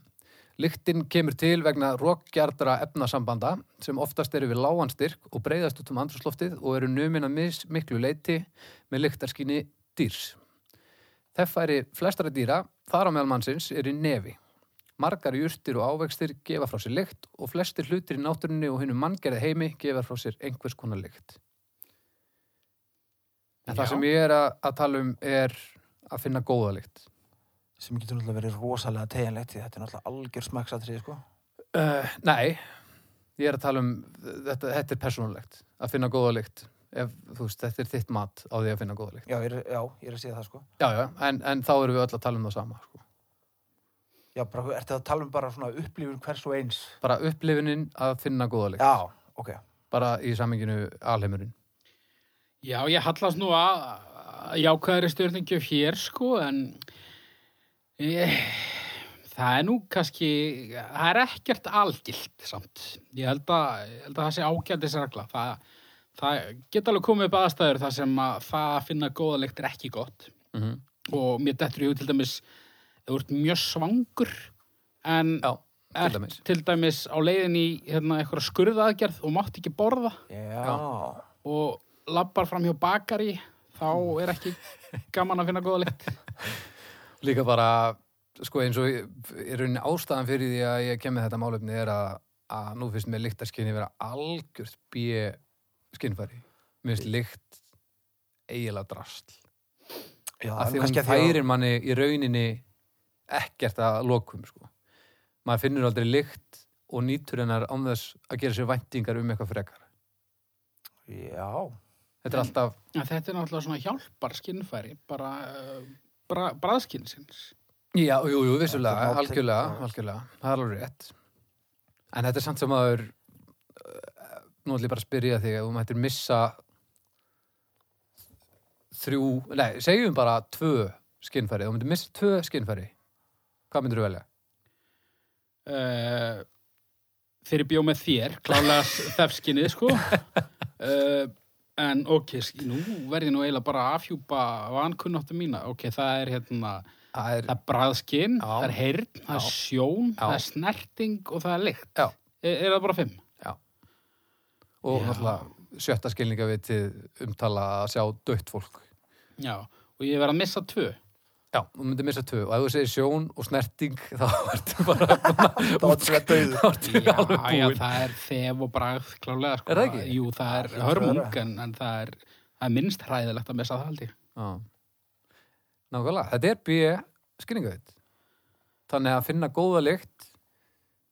Lyktin kemur til vegna rókgjardra efnasambanda sem oftast eru við lágan styrk og breyðast út um andrúsloftið og eru numin að mis miklu leiti með lyktarskinni dýrs. Þeffæri flestara dýra, þar á meðal mannsins, er í nefi. Margar jurtir og ávextir gefa frá sér lykt og flestir hlutir í náttúrunni og hinnum manngerði heimi gefa frá sér einhvers konar lykt. En það
Já.
sem ég er að, að tala um er að finna góða lykt.
Sem getur náttúrulega verið rosalega teginlegt því þetta er náttúrulega algjör smakksatrið, sko.
Uh, nei, ég er að tala um þetta, þetta er persónulegt, að finna góða lykt ef, þú veist, þetta er þitt mat á því að finna góða lykt
Já, ég er, já, ég er að segja það, sko.
Já, já, en, en þá erum við öll að tala um það sama sko.
Já, bara, ertu að tala um bara svona upplifun hvers og eins?
bara upplifunin að finna góða lykt
Já, ok.
bara í saminginu alheimurinn
Já, ég hallast nú að að jákvæðari stjórningjöf hér, sko, en ég, það er nú kannski, það er ekkert algilt samt. Ég held að, ég held að það sé ágældis regla. Það, það geta alveg komið upp aðstæður þar sem að það að finna góða leikt er ekki gott.
mm
og mér dettur í hug til dæmis ef þú ert mjög svangur en
Já, til
ert
dæmis.
til dæmis á leiðin í hérna, eitthvað skurðaðgerð og mátt ekki borða
Já.
og labbar fram hjá bakari þá er ekki gaman að finna góða lykt
Líka bara, sko eins og ég- í rauninni ástæðan fyrir því að ég kem með þetta málefni er að, að nú finnst mér lyktarskinni vera algjört bíu skinnfæri Mér finnst lykt eiginlega drastl
Já,
að
en
því
kannski
hún
að því að-
færir manni í rauninni ekkert að lokum sko. maður finnur aldrei lykt og nýtur hennar án þess að gera sér væntingar um eitthvað frekar
Já,
Þetta er alltaf,
En þetta er náttúrulega svona hjálpar skinnfæri, bara uh, bra, bræðskinsins.
já, jú, jú, vissulega,
Þetta er nátengt,
algjörlega,
já.
algjörlega, það er alveg rétt. En þetta er samt sem aður, nú ætlum ég bara að spyrja þig, að þú mættir missa þrjú, nei, segjum bara tvö skinnfæri, þú mættir missa tvö skinnfæri. Hvað myndir þú velja?
Uh, þegar ég bjó með þér, klálega þefskinnið, sko. Uh, en ok, sk- nú verð ég nú eiginlega bara að afhjúpa vankunnáttu mína. Ok, það er hérna,
Það er,
það er bræðskinn,
Já.
það er heyrn, það er
Já.
sjón,
Já.
það er snerting og það er lykt.
Já.
Er, er það bara fimm?
og
Já.
náttúrulega sjötta skilningavitið umtala að sjá dött fólk.
Já, og ég verð að missa tvö.
Já, þú myndir missa tvö og ef þú segir sjón og snerting þá ertu bara
Það var þetta döðu.
þá ertu
Já,
alveg
já,
búin
það er þef og bræð klálega, sko.
Er það ekki?
Jú, það er
hlýtur að
hörmung,
vera.
en, en það er, það er minnst hræðilegt að missa það haldi.
Já. Nákvæmlega, þetta er B skilningavit þannig að finna góða lykt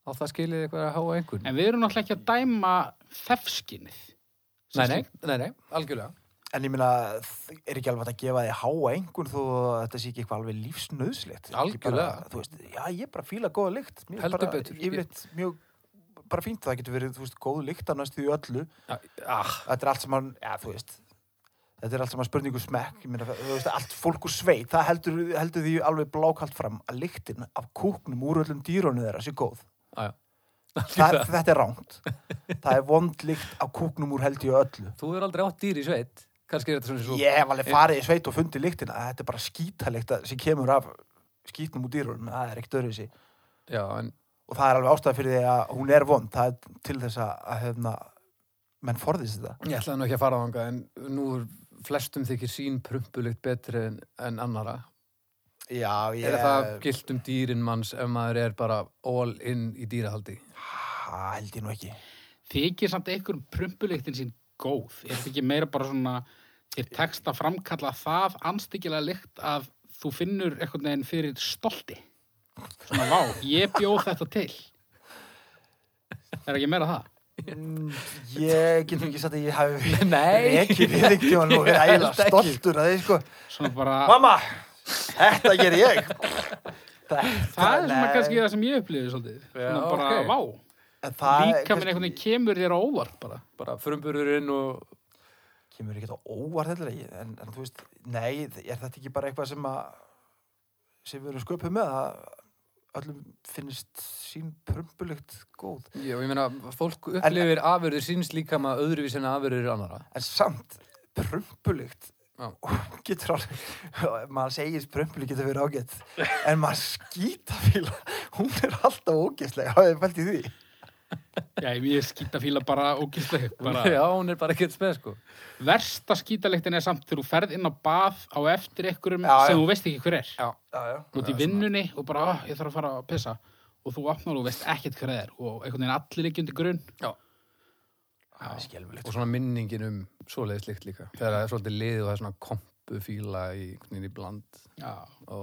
á það skilið eitthvað að háa einhvern
En við erum náttúrulega ekki að dæma þefskinnið.
Nei, nei, nei, nei, algjörlega
En ég meina, þ- er ekki alveg hægt að gefa þig háa einhvern þó að þetta sé ekki eitthvað alveg lífsnauðslegt.
Algjörlega.
Þú veist, já, ég bara fíla góða lykt. Mér er
Heldur
bara,
betur.
Yfirleitt mjög, bara fínt það getur verið, þú veist, góð lykt að næstu í öllu.
ah,
Þetta er allt saman, já, þú veist, þetta er allt saman spurningu smekk. Ég meina, þú veist, allt fólk úr sveit, það heldur, heldur því alveg blákalt fram að lyktin af kúknum úr öllum dýrónu þeirra sé góð.
á,
Það, þetta er ránt. Það er vond lykt af kúknum úr held í öllu.
Þú er aldrei átt dýr í sveit kannski er þetta svona svo
Ég hef alveg farið í sveit og fundið lyktina að þetta er bara skítalikta sem kemur af skítnum úr dýrunum, það er ekkert öðruvísi
Já, en
og það er alveg ástæða fyrir því að hún er vond það er til þess að, að hefna, menn forðist þetta
Ég ætlaði nú ekki að fara þangað en nú er flestum þykir sín prumpulikt betri en, en annara
Já, ég
Er það gilt um dýrin manns ef maður er bara all in í dýrahaldi?
Ha, held ég nú ekki
Þykir samt einhverjum prumpuleiktin sín góð. Er þetta ekki meira bara svona, þér tekst að framkalla það anstíkilega lykt að þú finnur einhvern veginn fyrir stolti. Svona, vá, ég bjóð þetta til. Er ekki meira það?
Mm, Ég get nú ekki sagt að ég hafi
Nei.
ekki við ekki og nú er
Ég held
ægilega
ekki.
stoltur að því sko
Svona bara,
Mamma, þetta ger ég Það,
það er svona kannski það sem ég upplifið svolítið. Svona
Já,
bara,
ok.
vá, líka
það
minn
kannski-
einhvern veginn kemur þér á óvart bara.
Bara frumbururinn og...
kemur ekkert á óvart heldur ég, en, en þú veist, nei, er þetta ekki bara eitthvað sem að sem við erum sköpuð með að öllum finnist sín prumpulegt góð,
Já, ég meina, fólk upplifir afurður síns líka maður öðruvís en afurður annara.
en samt prumpulegt
Já.
getur alveg, maður segir prumpulegt getur verið ágætt, en maður skítafíla, hún er alltaf ógæstlega, hafið fælt í því
Já, ég skýta fíla bara ógislega. Bara,
Já, hún er bara ekkert speð, sko.
Versta skítalegtin er samt þegar þú ferð inn á bað á eftir einhverjum
Já, já.
sem þú veist ekki hver er.
já, já,
Þú ert í vinnunni og bara, ah, ég þarf að fara að pissa. Og þú opnar og veist ekkert hver það er. Og einhvern veginn allir ekki undir grunn.
það er skelfilegt
Og svona minningin um svoleiðis líkt líka. Þegar það er svolítið liðið og það er svona kompu fíla í, í bland.
Já,
Ó.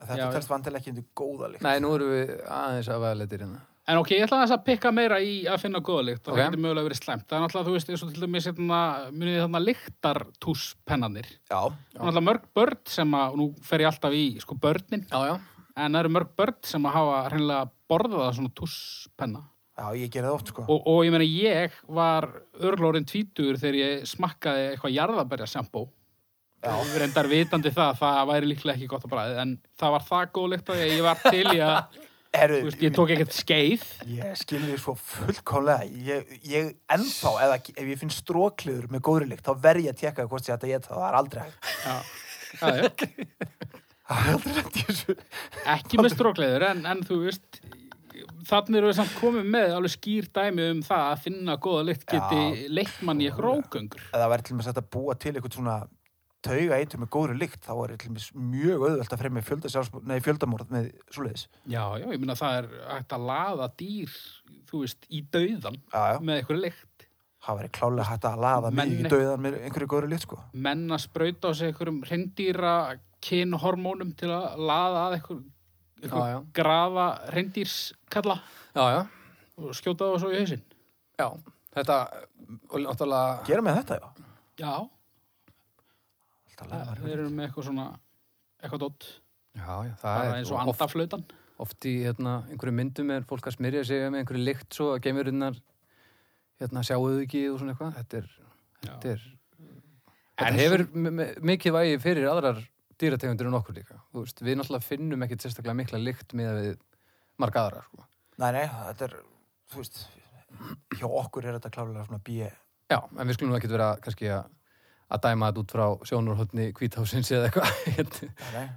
Já,
þetta
já.
telst vandilega ekki undir góða líkt
Nei, nú erum við aðeins að veða letir hérna.
En ok, ég ætla aðeins að pikka meira í að finna góða lykt og
Ok.
það getur mögulega verið slæmt. Það er náttúrulega, þú veist, eins og til dæmis hérna, munið þið þarna lyktartúspennanir.
já,
Það er náttúrulega mörg börn sem að, og nú fer ég alltaf í, sko, börnin,
Já, já.
en það eru mörg börn sem að hafa hreinlega borðað það svona túspenna.
já, ég gerði það oft sko
Og, og ég meina, ég var örglórin tvítur þegar ég smakkaði eitthvað jarðabæra sjambó. Ég reyndar vitandi það, það væri líklega ekki gott að bræði, en það var það góðlegt að ég var til í að,
Heru,
þú veist, ég tók ekkert skeið.
Ég skil því svo fullkomlega ég, ég ennþá, eða, ef ég finn strókliður með góðri lykt, þá verð ég að tekka hvort ég ætti að geta, það er aldrei hægt
Já, já, já.
Það er aldrei hægt í þessu
Ekki með strókleður, en, en þú veist, þannig erum við samt komið með alveg skýr dæmi um það að finna góða lykt geti leitt mann í eitthvað rógöngur.
Ef það væri til með að búa til eitthvað svona tauga eitur með góðri lykt, þá er til með mjög auðvelt að fremja fjölda, sjálfs- nei, fjöldamorð með svoleiðis
Já, já, ég meina það er hægt að laða dýr, þú veist, í dauðan
Já, já,
með eitthvað lykt.
það væri klálega hægt að laða mig
Menn-
í dauðan með einhverju góðri lykt sko.
menn að sprauta á sig einhverjum hreindýra kynhormónum til að laða að einhver, einhver
Já, já.
grafa hreindýrskalla
Já, já.
og skjóta það svo í hausinn.
Já, Þetta, og náttúrulega,
Gerum við þetta, já?
Já,
Alltaf
það-
læra
þeir eru með eitthvað svona, eitthvað dótt.
já, já,
Það
það
er eins og
er oft,
andaflautan.
oft í hérna, einhverju myndum er fólk að smyrja sig með einhverju lykt svo að gemurinnar hérna, sjáuðu ekki og svona eitthvað. Þetta er, þetta er,
En
þetta hefur m- m- mikið vægi fyrir aðrar dýrategundir en okkur líka. Þú veist, við náttúrulega finnum ekkit sérstaklega mikla lykt með við marga aðra, sko.
Nei, nei, þetta er, þú veist, hjá okkur er þetta klálega svona bíja.
Já, en við skulum nú ekkit vera kannski að að dæma þetta út frá sjónurhóttni hvításins eða eitthvað.
Nei, nei.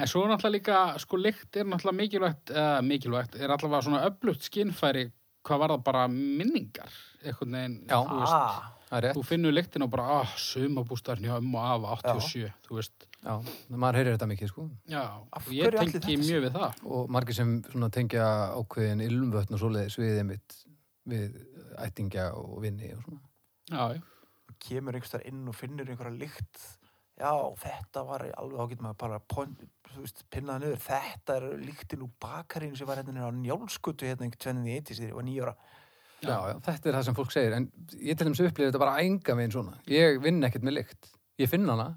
En svo er náttúrulega líka, sko, lykt er náttúrulega mikilvægt, uh, mikilvægt, er allavega svona öflugt skinnfæri, hvað var það bara minningar, einhvern veginn,
Já.
þú veist,
Ah,
Það er rétt.
þú finnur lyktin og bara, ah, sumabústæðurinn hjá ömmu af 87, þú veist,
Já, maður heyrir þetta mikið sko
já,
Af
og ég
hverju ætli
tengi
þetta sé?
mjög við það.
og margir sem svona tengja ákveðin ilmvötn og svoleiðis við einmitt við ættingja og vinni og svona.
Já, já.
kemur einhvers þar inn og finnur einhverja lykt. Já, þetta var alveg, þá getur maður bara pon, þú veist, pinnaða niður. Þetta er lyktin úr bakarinn sem var hérna niður á njálskutu hérna einhvern tvennin í eittis þegar ég var nýjóra.
Já.
Já. já, þetta er það sem fólk segir en ég til dæmis upplýði þetta bara enga meginn svona ég vinn ekkert með lykt, ég finn hana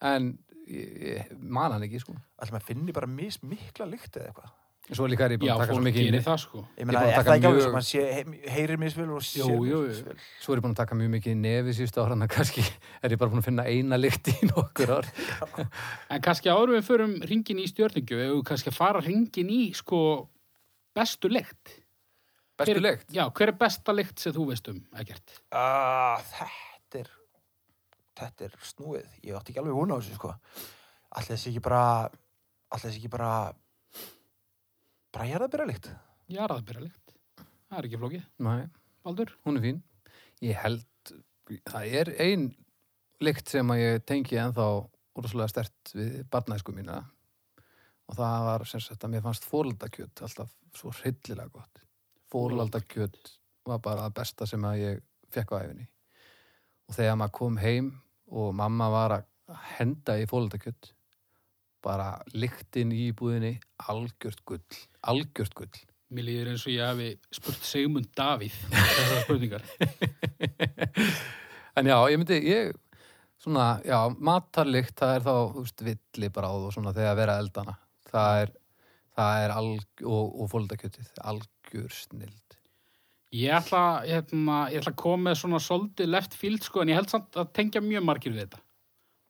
en ég, ég man hann ekki sko
Alltaf maður finni bara mis mikla lykt eða eitthvað.
en svo líka er ég búin
Já,
að taka svo
fólk
mikið
gerir
inni
það, sko.
Ég
Ég
meina,
er búin að
er
taka
það ekki alveg
mjög-
sem maður sé, he- heyrir misvel og sér
jú, jú.
misvel?
svo er ég búin að taka mjög mikið í nefi síðustu ára en kannski er ég bara búin að finna eina lykt í nokkur ár
En kannski áður við förum ringin í stjörningju, ef við kannski að fara ringin í, sko, bestu lykt.
bestu
Hver-
lykt
Já, hver er besta lykt sem þú veist um, ekkert?
Ah, þetta er þetta er snúið ég átti ekki alveg hún á þessu sko alltaf þessi ekki bara alltaf þessi ekki bara bara ég er að byrja líkt
Jarðabera lykt. Það er ekki flókið.
Nei.
Baldur?
hún er fín ég held, það er ein lykt sem að ég tengi ennþá úrslega stert við barnæsku mína og það var sem sagt að mér fannst fórlaldakjöt alltaf svo hryllilega gott fórlaldakjöt var bara það besta sem að ég fekk á æfinni og þegar maður kom heim og mamma var að henda í fórlaldakjöt bara lyktin í búðinni algjört gull, algjört gull
Mér líður eins og ég hafi spurt Sigmund Davíð þessar spurningar.
En já, ég myndi, ég, svona, já, matarlykt, það er þá, þú veist, villibráð og svona þegar að vera eldana. Það er, það er alg, og, og fóldakjötið, algjör snild.
Ég ætla, hérna, ég ætla að koma með svona soldið left field sko en ég held samt að tengja mjög margir við þetta.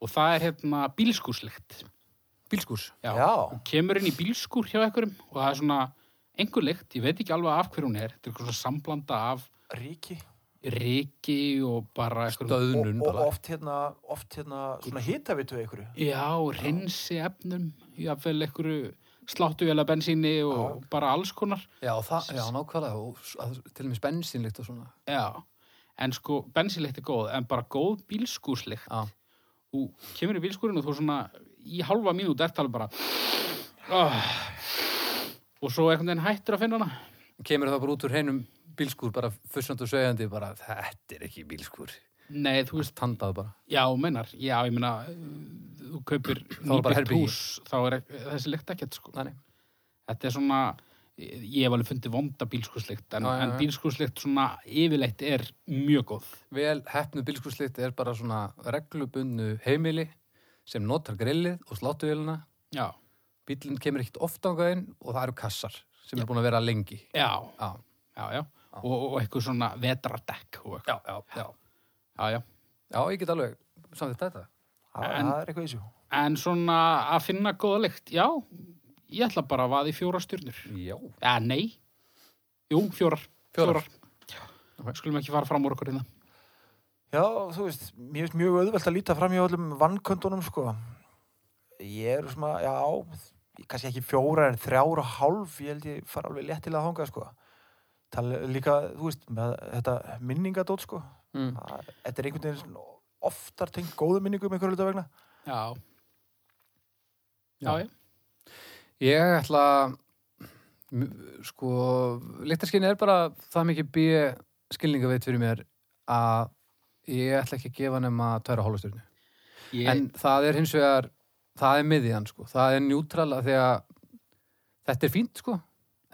Og það er hérna bílskúslykt.
Bílskús.
já,
Hún kemur inn í bílskúr hjá einhverjum og það er svona einhver lykt, ég veit ekki alveg af hverju hún er. Þetta er eitthvað svona samblanda af
ríki
riki og bara einhverjum...
og,
Döðnun
og
bara.
oft hérna oft hérna svona hitavitu einhverju
Já, reynsi efnum, jáfnvel einhverju sláttuvéla bensíni og bara alls konar.
Já, það, já, nákvæmlega, og s- að, til og með spensinlykt og svona.
Já, en sko bensinleikt er góð, en bara góð bílskúsleikt.
Já,
Þú kemur í bílskúrin og þú svona í halva mínút ert alveg bara oh. og svo einhvern veginn hættur að finna hana.
kemur það bara út úr heinum bílskúr, bara fussand og sögjandi, bara, þetta er ekki bílskúr.
Nei, þú veist,
Tandað bara.
já, mennar, já, ég meina, uh, þú kaupir
Þá er bara
nýbyggt
herbergi.
hús, þá er ek- þessi leikt ekkert, sko.
Þannig.
Þetta er svona, ég ég hef alveg fundið vonda bílskúsleikt, en,
Já, já,
en
já.
bílskúsleikt svona yfirleitt er mjög góð.
vel hefnu bílskúrslit er bara svona reglubunnu heimili sem notar grillið og sláttuvelina
Já,
bílinn kemur ekkert oft ángað inn og það eru kassar sem er búin að vera lengi
já,
já,
já, já, og, og, og eitthvað svona vetradekk og eitthvað.
já, já, já.
Já, já.
já ég get alveg samt þetta
það
En-
það er eitthvað í þessu
En svona að finna góða lykt, já, ég ætla bara að vaða í fjóra stjörnur.
já,
Eða nei, jú, fjórar.
Fjórar.
Já. Skulum ekki fara fram úr okkur hérna.
já, þú veist, mér finnst mjög auðvelt að líta fram í öllum vannköntunum sko ég er svona, já kannski ekki fjóra en þrjára og hálf ég held ég fara alveg léttilega að hanga sko Tal, líka, þú veist, með þetta minningadót sko
mm.
Það- þetta er einhvern veginn svona oftar tengt góðu minningum einhverju hluta vegna
Já. Já,
Já.
já.
ég ætla m- sko, lyktarskinni er bara það mikið bíu skilningaveit fyrir mér að ég ætla ekki að gefa nema tæra hólastjörnu
Ég,
En það er hins vegar, það er miðjan sko, það er njútrala því að þetta er fínt sko,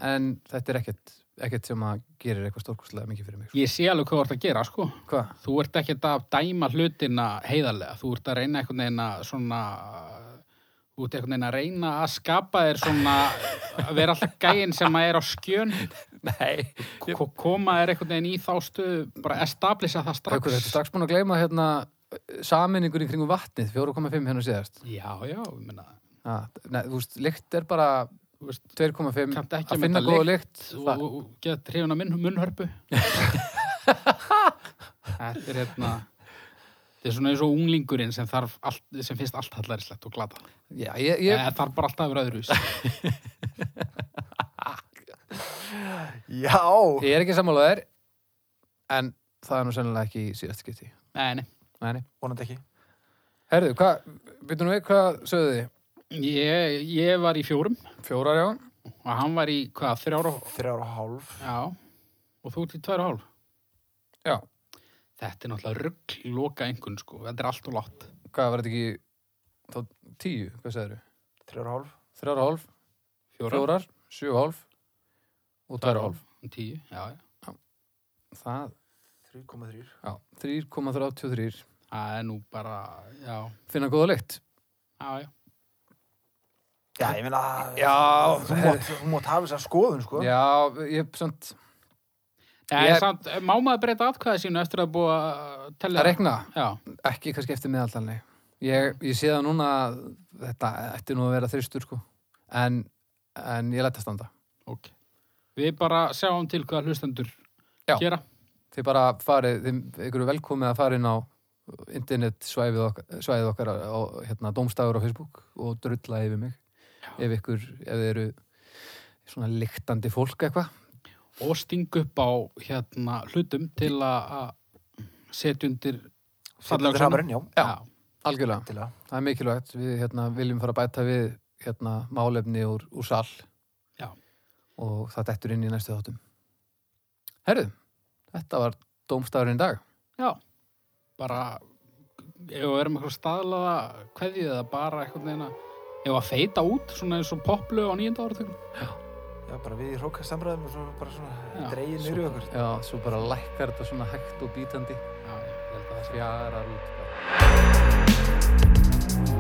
en þetta er ekkert, ekkert sem að gerir eitthvað stórkostlega mikið fyrir mig. sko.
Ég sé alveg hvað þú ert að gera, sko.
Hvað?
Þú ert ekki að dæma hlutina heiðarlega. Þú ert að reyna einhvern veginn að svona... Þú ert einhvern veginn að reyna að skapa þér svona... að vera alltaf gæinn sem að er á skjön.
Nei.
Ko koma þér einhvern veginn í þá stöðu. Bara establisha það strax.
Haukur, þetta er strax búin að gleyma hérna saminningur í kringum vatnið, 4,5 hérna síðast.
Já, já, ég meina...
Ah, nei, þú veist, lykt er bara
Þú veist,
2,5
Kannt ekki
að
að mynda
finna góða lykt.
og,
það-
og, og get hrifin að minn, munnhörpu. þetta er hérna... Þetta er svona eins og unglingurinn sem, þarf allt, sem finnst allt hallarinslegt og glata.
Já,
Yep.
ég, ég,
Það þarf bara alltaf að vera öðruvis.
Já,
ég er ekki sammála þér, en það er nú sennilega ekki í síðast skipti.
Nei, nei.
Nei, nei.
vonandi ekki.
Herðu, hvað, veitum við hvað sögðu þið?
Ég, ég var í fjórum
Fjórar, já.
og hann var í hvað, þrjára og
Þrjára og hálf.
já, og þú ert í tværa og hálf.
Já,
Þetta er náttúrulega rugg loka einhvern sko, þetta er allt og látt.
hvað var þetta ekki, þá tíu, hvað segðu þið?
Þrjára og hálf.
Þrjára og hálf, fjórar, sjö og hálf og tværa og hálf.
Tíu, já, já.
Það,
3,3.
já, 3,33
Það er nú bara, já,
finna góða lykt.
já, já.
Já, ég meina,
Já,
þú mátt, þú mátt hafa þess að skoðun, sko.
Já, ég, samt,
Nei,
Ég-
samt, má maður breyta atkvæði sínu eftir að búa að tella?
að rekna,
Já,
ekki kannski eftir meðaltalni ég, ég sé það núna að þetta ætti nú að vera þristur sko en, en ég leta standa
ok. Við bara sjáum til hvað hlustendur
Já.
gera.
þið bara farið, þið ykkur er velkomið að fara inn á internet svæðið okkar, svæðið okkar á hérna domstafur á Facebook og drulla yfir mig ef ykkur, ef þið eru svona lyktandi fólk eitthvað
Og stinga upp á hérna hlutum til að að setja undir
Þetta er hamarinn, já,
Já. algjörlega,
til að.
það er mikilvægt við hérna viljum fara að bæta við hérna málefni úr, úr sal
Já.
og það dettur inn í næstu þáttum Herðu, þetta var dómstafurinn í dag
Já, bara ef við erum eitthvað staðlaða kveðið eða bara eitthvað neina ef að feita út svona eins og poplu á nýjönda áratökum
Já, bara við í hrókast samræðum og svo bara svona
Já,
dreigir
svo
nýru okkur.
Já, svo bara lækkar þetta svona hægt og bítandi
Já, ég held að það sé
fjarar út bara.